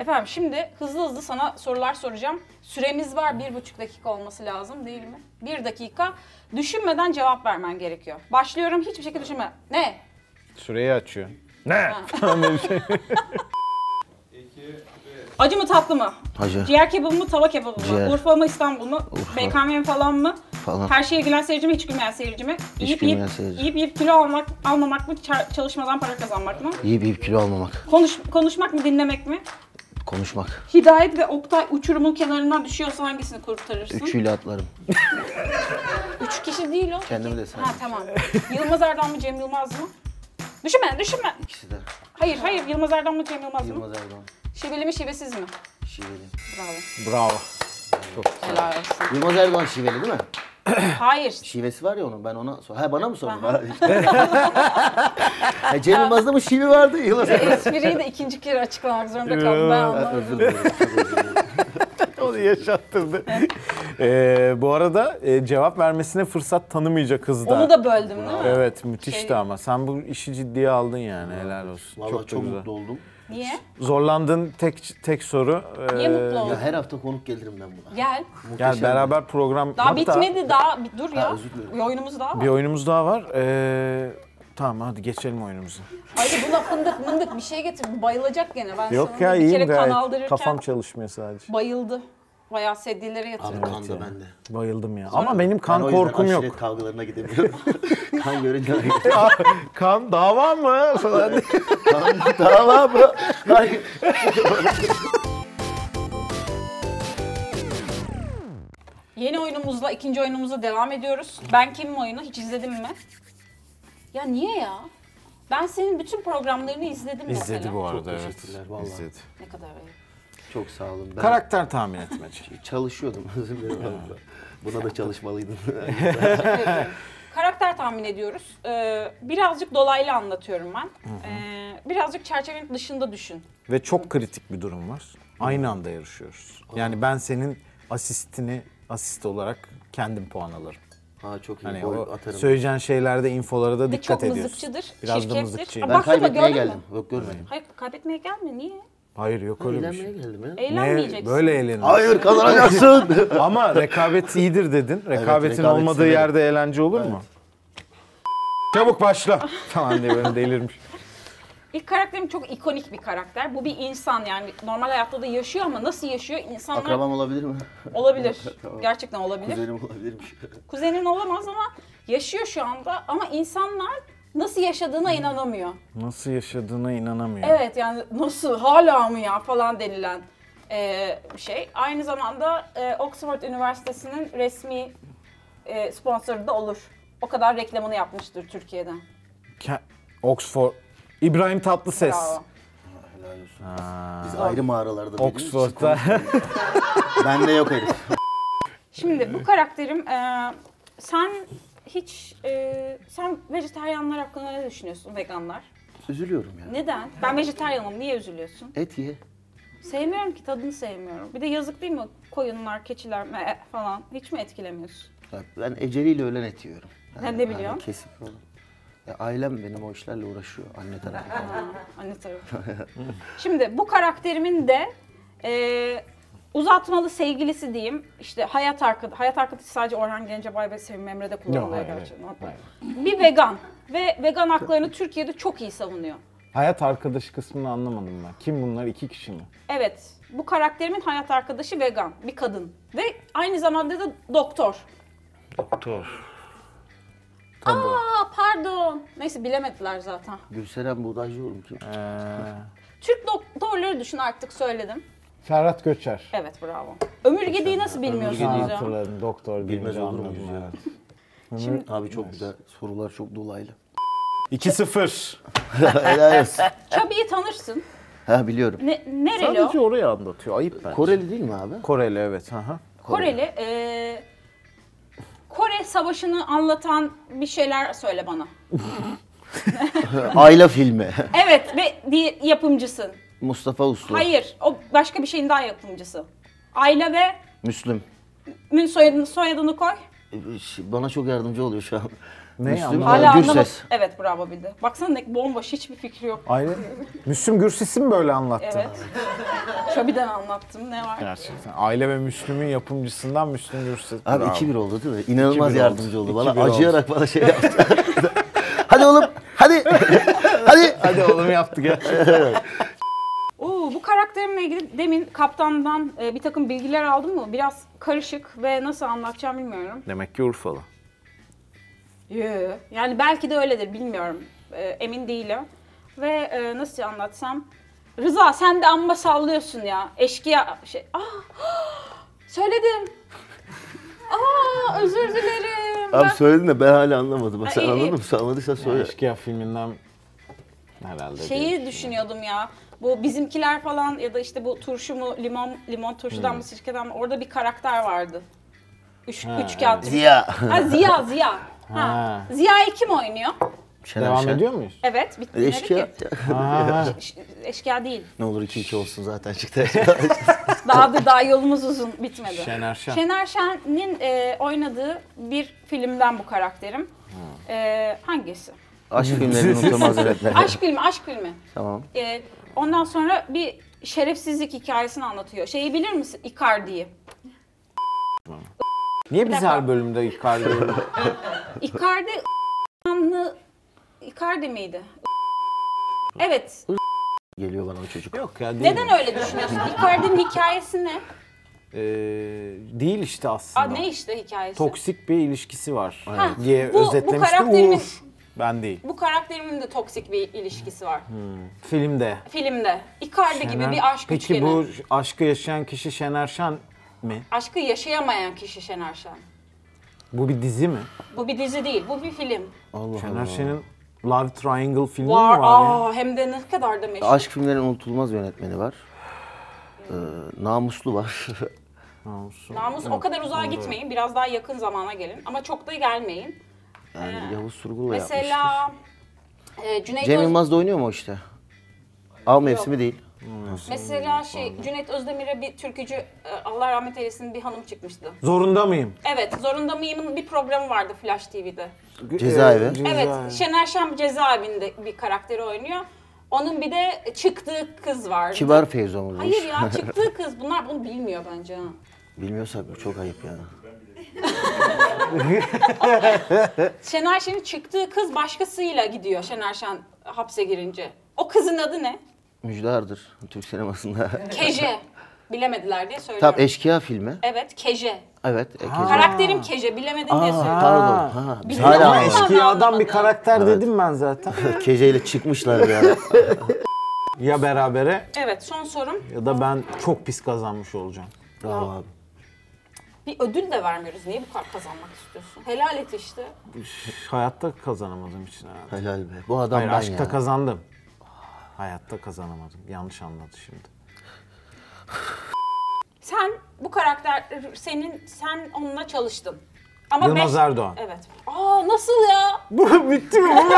Speaker 1: Efendim şimdi hızlı hızlı sana sorular soracağım. Süremiz var bir buçuk dakika olması lazım değil mi? Bir dakika. Düşünmeden cevap vermen gerekiyor. Başlıyorum hiçbir şekilde düşünme. Ne?
Speaker 3: Süreyi açıyor.
Speaker 1: Acı mı tatlı mı?
Speaker 2: Hacı
Speaker 1: Ciğer kebabı mı tava kebabı mı?
Speaker 2: Ciğer.
Speaker 1: Urfa mı İstanbul mu? BKM mi falan mı?
Speaker 2: falan.
Speaker 1: Her şey- şeye gülen seyirci mi hiç gülmeyen seyirci mi?
Speaker 2: Hiç
Speaker 1: Yiyip
Speaker 2: gülmeyen
Speaker 1: yiyip,
Speaker 2: seyirci.
Speaker 1: yiyip yiyip kilo almak, almamak mı? Çar- çalışmadan para kazanmak mı?
Speaker 2: İyi bir kilo almamak.
Speaker 1: Konuş, konuşmak mı dinlemek mi?
Speaker 2: Konuşmak.
Speaker 1: Hidayet ve Oktay uçurumun kenarından düşüyorsa hangisini kurtarırsın?
Speaker 2: Üçüyle atlarım.
Speaker 1: Üç kişi değil o.
Speaker 2: Kendimi de
Speaker 1: Ha
Speaker 2: saydım.
Speaker 1: tamam. Yılmaz Erdoğan mı Cem Yılmaz mı? Düşünme, düşünme.
Speaker 2: İkisi de.
Speaker 1: Hayır, hayır. Yılmaz Erdoğan mı Cem Yılmaz mı?
Speaker 2: Yılmaz Erdoğan.
Speaker 1: Şiveli mi, şivesiz mi?
Speaker 2: Şiveli.
Speaker 1: Bravo.
Speaker 3: Bravo.
Speaker 1: Helal olsun.
Speaker 2: Yılmaz Erdoğan şiveli değil mi?
Speaker 1: Hayır.
Speaker 2: Şivesi var ya onun. Ben ona sor. Ha bana mı sordun? ha, Cem Yılmaz'da mı şivi vardı? Yılmaz Erdoğan.
Speaker 1: Espriyi de ikinci kere açıklamak zorunda kaldım. Ben anlamadım.
Speaker 2: Özür dilerim. çok özür dilerim.
Speaker 3: Onu yaşattırdı. Ee, bu arada e, cevap vermesine fırsat tanımayacak hızda.
Speaker 1: Onu da böldüm değil mi?
Speaker 3: Evet müthişti
Speaker 1: Şey-
Speaker 3: ama sen bu işi ciddiye aldın yani helal olsun.
Speaker 2: Vallahi
Speaker 3: çok,
Speaker 2: çok,
Speaker 3: da güzel.
Speaker 2: mutlu oldum.
Speaker 1: Niye?
Speaker 3: Zorlandığın tek tek soru. e,
Speaker 1: Niye mutlu oldun?
Speaker 2: Ya her hafta konuk gelirim ben buna.
Speaker 1: Gel.
Speaker 3: Yani beraber program
Speaker 1: Daha
Speaker 3: Hatta
Speaker 1: bitmedi daha. Bir dur ya.
Speaker 2: özür dilerim.
Speaker 1: Bir oyunumuz daha
Speaker 3: Bir
Speaker 1: var.
Speaker 3: oyunumuz daha var. Ee, tamam hadi geçelim oyunumuza.
Speaker 1: Hayır buna fındık mındık bir şey getir. Bayılacak gene. Ben
Speaker 3: Yok
Speaker 1: sana
Speaker 3: ya
Speaker 1: bir kere kan
Speaker 3: iyiyim gayet.
Speaker 1: aldırırken
Speaker 3: Kafam çalışmıyor sadece.
Speaker 1: bayıldı. Bayağı sedyelere yatırdı.
Speaker 2: Abi kan da bende.
Speaker 3: Bayıldım ya. Ama benim
Speaker 2: Ben
Speaker 3: kan
Speaker 2: o yüzden
Speaker 3: korkum yok.
Speaker 2: aşiret kavgalarına gidemiyorum. kan görünce
Speaker 3: Kan dava mı? Falan.
Speaker 2: kan daha var mı? Ay,
Speaker 1: Yeni oyunumuzla ikinci oyunumuza devam ediyoruz. Ben kimim oyunu hiç izledim mi? Ya niye ya? Ben senin bütün programlarını izledim mesela.
Speaker 3: İzledi bu arada evet.
Speaker 2: teşekkürler, vallahi.
Speaker 3: İzledi.
Speaker 1: Ne kadar ayıp.
Speaker 2: Çok sağ olun. Ben
Speaker 3: Karakter tahmin etmece.
Speaker 2: çalışıyordum. Özür dilerim. Buna da çalışmalıydım.
Speaker 1: Karakter tahmin ediyoruz. Ee, birazcık dolaylı anlatıyorum ben. Ee, birazcık çerçevenin dışında düşün.
Speaker 3: Ve çok kritik bir durum var. Aynı anda yarışıyoruz. Yani ben senin asistini asist olarak kendim puan alırım.
Speaker 2: ha çok iyi.
Speaker 3: Hani
Speaker 2: Gol
Speaker 3: o
Speaker 2: atarım.
Speaker 3: söyleyeceğin şeylerde, infolara da
Speaker 1: Ve
Speaker 3: dikkat
Speaker 1: çok
Speaker 3: ediyorsun.
Speaker 1: mızıkçıdır,
Speaker 3: Biraz da
Speaker 1: çirkeftir.
Speaker 3: mızıkçıyım.
Speaker 1: Ama-
Speaker 2: ben
Speaker 1: Baksana,
Speaker 2: kaybetmeye
Speaker 1: gördün mü?
Speaker 2: geldim. Yok görmedim.
Speaker 1: Hayır kaybetmeye gelme niye?
Speaker 3: Hayır yok öyle bir
Speaker 2: Eğlenmeye
Speaker 3: şey.
Speaker 2: geldim ya.
Speaker 1: Eğlenmeyeceksin.
Speaker 3: Ne, böyle eğlenir.
Speaker 2: Hayır kazanacaksın.
Speaker 3: Ama rekabet iyidir dedin. Rekabetin
Speaker 2: rekabet
Speaker 3: olmadığı
Speaker 2: severim.
Speaker 3: yerde eğlence olur mu? Çabuk başla falan diye böyle delirmiş.
Speaker 1: İlk karakterim çok ikonik bir karakter. Bu bir insan yani normal hayatta da yaşıyor ama nasıl yaşıyor insanlar
Speaker 2: Akrabam olabilir mi?
Speaker 1: olabilir. Gerçekten olabilir.
Speaker 2: Kuzenim olabilirmiş.
Speaker 1: kuzenin olamaz ama yaşıyor şu anda ama insanlar nasıl yaşadığına inanamıyor.
Speaker 3: Nasıl yaşadığına inanamıyorum.
Speaker 1: Evet yani nasıl hala mı ya falan denilen e, bir şey. Aynı zamanda e, Oxford Üniversitesi'nin resmi e, sponsoru da olur. O kadar reklamını yapmıştır Türkiye'de.
Speaker 3: Ke- Oxford. İbrahim Tatlıses.
Speaker 1: Bravo.
Speaker 2: Helal olsun. Biz ayrı mağaralarda büyüdüğümüz için
Speaker 3: Oxford'da.
Speaker 2: Bende yok herif.
Speaker 1: Şimdi bu karakterim e, sen hiç e, sen vejetaryenler hakkında ne düşünüyorsun veganlar?
Speaker 2: Üzülüyorum ya.
Speaker 1: Neden? Ben vejetaryenim niye üzülüyorsun?
Speaker 2: Et ye.
Speaker 1: Sevmiyorum ki tadını sevmiyorum. Bir de yazık değil mi koyunlar, keçiler me- e, falan hiç mi etkilemiyorsun?
Speaker 2: Bak, Ben eceliyle ölen et yiyorum. hani
Speaker 1: Sen ne biliyorsun?
Speaker 2: kesip falan. Ya ailem benim o işlerle uğraşıyor. Anne tarafı falan.
Speaker 1: Anne tarafı. Şimdi bu karakterimin de e, uzatmalı sevgilisi diyeyim. İşte hayat arkadaşı, hayat arkadaşı sadece Orhan Gencebay ve Sevim Emre'de
Speaker 5: Yok,
Speaker 1: kullanılıyor
Speaker 5: hayır,
Speaker 1: gerçi.
Speaker 5: hayır, hayır.
Speaker 1: Bir vegan ve vegan haklarını Türkiye'de çok iyi savunuyor.
Speaker 5: Hayat arkadaşı kısmını anlamadım ben. Kim bunlar? iki kişi mi?
Speaker 1: Evet, bu karakterimin hayat arkadaşı vegan, bir kadın ve aynı zamanda da doktor.
Speaker 2: Doktor.
Speaker 1: Aa pardon. Neyse bilemediler zaten.
Speaker 2: Gülseren Buğdaycı oğlum kim?
Speaker 1: Türk doktorları düşün artık söyledim.
Speaker 5: Ferhat Göçer.
Speaker 1: Evet bravo. Ömürgediği nasıl
Speaker 5: Ha,
Speaker 1: bilmiyorsunuz ya?
Speaker 5: hatırladım. Doktor
Speaker 2: Bilmez
Speaker 5: deyince
Speaker 2: olur
Speaker 5: anladım.
Speaker 2: muyuz ya?
Speaker 5: evet.
Speaker 1: Şimdi
Speaker 2: Abi çok güzel. Sorular çok dolaylı.
Speaker 3: 2-0.
Speaker 2: Helal olsun.
Speaker 1: Çabi'yi tanırsın.
Speaker 2: Ha biliyorum.
Speaker 1: Ne, nereli
Speaker 3: Sadece
Speaker 1: o?
Speaker 3: oraya anlatıyor. Ayıp bence.
Speaker 2: Koreli değil mi abi?
Speaker 3: Koreli evet. Aha.
Speaker 1: Koreli. Ee, Kore Savaşı'nı anlatan bir şeyler söyle bana.
Speaker 2: Ayla filmi.
Speaker 1: Evet ve di- yapımcısın.
Speaker 2: Mustafa Uslu.
Speaker 1: Hayır, o başka bir şeyin daha yapımcısı. Ayla ve
Speaker 2: Müslüm.
Speaker 1: Mün soyadını, soyadını koy.
Speaker 2: Ee, ş- Bana çok yardımcı oluyor şu an.
Speaker 3: Ne
Speaker 2: Müslüm
Speaker 3: anlamadım.
Speaker 1: Hala
Speaker 2: Hala
Speaker 1: anlamadım.
Speaker 2: Gürses.
Speaker 1: Evet bravo bildi. Baksana ne bomboş hiçbir fikri yok.
Speaker 3: Ayrı. Müslüm Gürses'i mi böyle anlattı?
Speaker 1: Evet. Çabi'den anlattım ne var?
Speaker 3: Gerçekten. Aile ve Müslüm'ün yapımcısından Müslüm Gürses.
Speaker 2: Abi
Speaker 3: Bravo.
Speaker 2: 2-1 oldu değil mi? İnanılmaz
Speaker 3: 2-1
Speaker 2: yardımcı
Speaker 3: oldu.
Speaker 2: oldu. Bana
Speaker 3: 2-1 oldu.
Speaker 2: acıyarak bana şey yaptı. hadi oğlum hadi. hadi.
Speaker 3: Hadi oğlum yaptık ya.
Speaker 1: Oo, bu karakterimle ilgili demin kaptandan e, bir takım bilgiler aldım mı? Biraz karışık ve nasıl anlatacağım bilmiyorum.
Speaker 3: Demek ki Urfalı.
Speaker 1: Yoo. Yani belki de öyledir bilmiyorum. E, emin değilim. Ve e, nasıl anlatsam? Rıza sen de amma sallıyorsun ya. Eşkıya şey. Aa, söyledim. Aa özür dilerim.
Speaker 2: Abi
Speaker 1: Ben-
Speaker 2: söyledin de ben hala anlamadım. Bak, sen
Speaker 1: Ay,
Speaker 2: anladın mı? Sen anladıysan söyle.
Speaker 5: Eşkıya filminden herhalde. diye
Speaker 1: Şeyi düşünüyordum ya. Bu bizimkiler falan ya da işte bu turşu mu limon limon turşudan mı sirkeden mi orada bir karakter vardı. Üç, üç kağıt.
Speaker 2: Ziya.
Speaker 1: Ha, Ziya Ziya. Ha.
Speaker 5: Ha.
Speaker 1: Ziya'yı kim oynuyor?
Speaker 2: Şener
Speaker 5: Devam
Speaker 2: Şen.
Speaker 5: ediyor muyuz?
Speaker 1: Evet bitti. dedi
Speaker 2: Eşkıya.
Speaker 1: ki. Ş- Eşkıya değil.
Speaker 2: Ne olur 2-2 olsun zaten çıktı.
Speaker 1: Daha da daha yolumuz uzun bitmedi.
Speaker 3: Şener Şen.
Speaker 1: Şener Şen'in e, oynadığı bir filmden bu karakterim. E, hangisi?
Speaker 2: Aşk filmlerini unutamaz öğretmen.
Speaker 1: Aşk filmi, aşk filmi.
Speaker 2: Tamam.
Speaker 1: E, ondan sonra bir şerefsizlik hikayesini anlatıyor. Şeyi bilir misin? Icardi'yi.
Speaker 3: Niye biz
Speaker 1: dakika.
Speaker 3: her bölümde Icardi
Speaker 1: Icardi ***'nı Icardi miydi? Evet.
Speaker 2: Geliyor bana o çocuk.
Speaker 3: Yok ya değil.
Speaker 1: Neden öyle düşünüyorsun? Icardi'nin hikayesi ne?
Speaker 3: Ee, değil işte aslında.
Speaker 1: Aa, ne işte hikayesi?
Speaker 3: Toksik bir ilişkisi var Hani
Speaker 1: Ha,
Speaker 3: diye
Speaker 1: bu- bu
Speaker 3: özetlemişti
Speaker 1: karakterimin-
Speaker 3: Uğur. Ben değil.
Speaker 1: Bu karakterimin de toksik bir ilişkisi var.
Speaker 3: Filmde.
Speaker 1: Filmde. Icardi gibi
Speaker 3: Şener-
Speaker 1: bir aşk
Speaker 3: Peki
Speaker 1: üçgeni.
Speaker 3: bu aşkı yaşayan kişi Şener Şen mi?
Speaker 1: Aşkı yaşayamayan kişi Şener Şen.
Speaker 3: Bu bir dizi mi?
Speaker 1: Bu bir dizi değil, bu bir film.
Speaker 2: Allah
Speaker 3: Şener
Speaker 2: Allah.
Speaker 3: Şen'in Love Triangle filmi
Speaker 1: Var,
Speaker 3: mi var ya?
Speaker 1: aa, hem de ne kadar da meşhur.
Speaker 2: Aşk filmlerinin unutulmaz yönetmeni var. Ee, namuslu var.
Speaker 1: Namus o kadar uzağa gitmeyin, biraz daha yakın zamana gelin. Ama çok da gelmeyin.
Speaker 2: yani Yavuz Surgul'la yapmıştır.
Speaker 1: Mesela e, Cüneyt
Speaker 2: Cem
Speaker 1: Öz-
Speaker 2: Yılmaz da oynuyor mu o işte? Av mevsimi değil.
Speaker 1: Mesela şey Cüneyt Özdemir'e bir türkücü e, Allah rahmet eylesin bir hanım çıkmıştı.
Speaker 3: Zorunda mıyım?
Speaker 1: Evet, Zorunda Mıyım'ın bir programı vardı Flash TV'de.
Speaker 2: Cezaevi.
Speaker 3: Ee,
Speaker 1: Evet,
Speaker 3: cezaevi.
Speaker 1: Şener Şen cezaevinde bir karakteri oynuyor. Onun bir de çıktığı kız vardı.
Speaker 2: Kibar Feyzo mu bu
Speaker 1: Hayır
Speaker 2: iş?
Speaker 1: ya, çıktığı kız. Bunlar bunu bilmiyor bence ha.
Speaker 2: Bilmiyorsak bu çok ayıp yani.
Speaker 1: Şener Şen'in çıktığı kız başkasıyla gidiyor Şener Şen hapse girince. O kızın adı ne?
Speaker 2: Müjdardır Türk sinemasında.
Speaker 1: Keje. Bilemediler diye söylüyorum.
Speaker 2: Tam eşkıya filmi.
Speaker 1: Evet, Keje.
Speaker 2: Evet. Eke-
Speaker 1: Karakterim Keje, bilemedin diye söylüyorum.
Speaker 2: Pardon. Ha. biz
Speaker 1: Bilmiyorum
Speaker 2: Hala
Speaker 3: Ama
Speaker 1: ama-
Speaker 2: anlamadık.
Speaker 3: eşkıyadan bir karakter dedim ben zaten.
Speaker 2: Keceyle çıkmışlar bir ara.
Speaker 3: ya berabere
Speaker 1: Evet, son sorum.
Speaker 3: ya da ben çok pis kazanmış olacağım.
Speaker 2: Bravo abi.
Speaker 1: Bir ödül de vermiyoruz. Niye bu kadar kazanmak istiyorsun? Helal et işte.
Speaker 3: Üf, Hayatta kazanamadığım için herhalde.
Speaker 2: Helal be. Bu adam
Speaker 3: Hayır,
Speaker 2: ben
Speaker 3: aşkta
Speaker 2: ya.
Speaker 3: kazandım. Hayatta kazanamadım. Yanlış anladı şimdi.
Speaker 1: Sen bu karakter senin sen onunla çalıştın. Ama
Speaker 3: Yılmaz
Speaker 1: beş-
Speaker 3: Erdoğan.
Speaker 1: Evet. Aa nasıl ya?
Speaker 3: Bu bitti mi bu?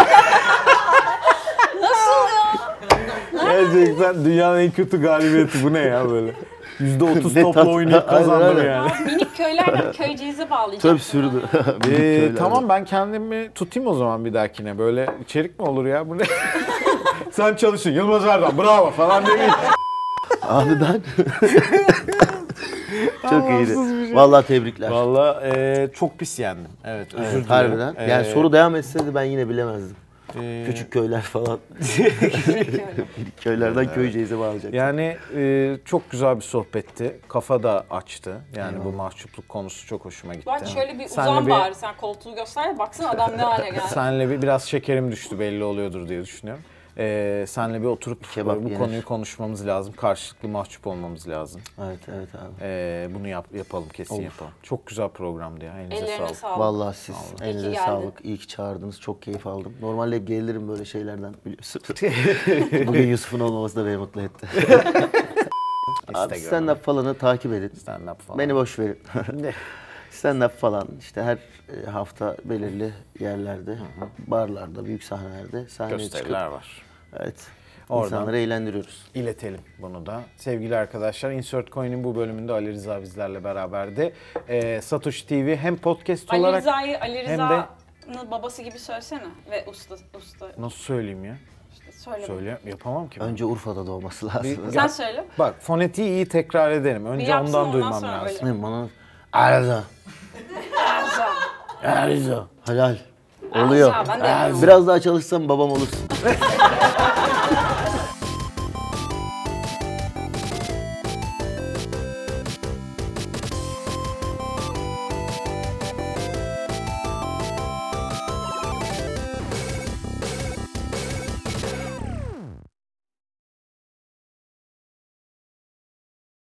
Speaker 1: Nasıl ya?
Speaker 3: Gerçekten dünyanın en kötü galibiyeti bu ne ya böyle? %30
Speaker 2: Ne
Speaker 3: topla
Speaker 2: tat-
Speaker 3: oynayıp
Speaker 2: Aynen,
Speaker 3: kazandım
Speaker 2: aynen.
Speaker 3: yani.
Speaker 1: Abi minik köylerden köyceğizi bağlayacağım.
Speaker 2: Töp sürdü.
Speaker 3: Ee,
Speaker 2: Büyük köylerde.
Speaker 3: tamam ben kendimi tutayım o zaman bir dahakine. Böyle içerik mi olur ya? Bu ne? Sen çalışın Yılmaz Erdoğan bravo falan demeyin.
Speaker 2: Abi ben Çok
Speaker 3: şey.
Speaker 2: iyiydi. Vallahi tebrikler.
Speaker 3: Valla e, çok pis yendim. Evet, özür dilerim.
Speaker 2: Harbiden. Yani
Speaker 3: Ee,
Speaker 2: soru devam etseydi ben yine bilemezdim.
Speaker 3: e,
Speaker 2: Küçük köyler falan. Köylerden köyceğize bağlayacak.
Speaker 3: Yani e, çok güzel bir sohbetti. Kafa da açtı. Yani bu mahcupluk konusu çok hoşuma gitti.
Speaker 1: Bak şöyle bir
Speaker 3: Senle
Speaker 1: uzan
Speaker 3: bir-
Speaker 1: bari sen koltuğu göster. Baksana adam ne hale geldi.
Speaker 3: Senle bir biraz şekerim düştü belli oluyordur diye düşünüyorum. Ee, senle bir oturup
Speaker 2: Kebap
Speaker 3: e, bu
Speaker 2: yenir.
Speaker 3: konuyu konuşmamız lazım. Karşılıklı mahcup olmamız lazım.
Speaker 2: Evet evet abi.
Speaker 3: Ee, bunu yap, yapalım kesin yapalım. Çok güzel programdı ya. Elinize
Speaker 1: Ellerine
Speaker 3: sağlık.
Speaker 1: sağlık.
Speaker 2: Vallahi siz elinize
Speaker 1: geldin.
Speaker 2: sağlık. İyi ki çağırdınız. Çok keyif aldım. Normalde hep gerilirim böyle şeylerden biliyorsunuz. Bugün Yusuf'un olmaması da beni mutlu etti. Abi
Speaker 3: Instagram,
Speaker 2: stand-up falanı takip edin.
Speaker 3: stand-up falan.
Speaker 2: Beni boş verin. Stand-up falan işte her e, hafta belirli yerlerde, barlarda, büyük sahnelerde sahneye çıkıp
Speaker 3: gösteriler var.
Speaker 2: evet,
Speaker 3: Oradan-
Speaker 2: insanları eğlendiriyoruz.
Speaker 3: iletelim bunu da. Sevgili arkadaşlar Insert Coin'in bu bölümünde Ali Rıza bizlerle beraberdi. Ee, Satoshi TV hem podcast
Speaker 1: Ali
Speaker 3: olarak...
Speaker 1: Rıza'yı Ali
Speaker 3: hem de-
Speaker 1: Rıza'nın babası gibi söylesene. Ve usta usta
Speaker 3: Nasıl söyleyeyim ya?
Speaker 1: işte söyle.
Speaker 3: Söyle yapamam ki. ben.
Speaker 2: Önce Urfa'da doğması lazım.
Speaker 3: Bir-
Speaker 1: Sen söyle.
Speaker 3: Bak fonetiği iyi tekrar edelim.
Speaker 1: Bir
Speaker 3: Önce
Speaker 1: yapsın
Speaker 3: ondan
Speaker 1: ondan
Speaker 3: duymam
Speaker 1: sonra
Speaker 3: lazım.
Speaker 1: öyle.
Speaker 2: Ne bana Arıza. Arıza. Helal. Oluyor.
Speaker 1: ben de yapıyorum.
Speaker 2: Biraz daha çalışsam babam olursun.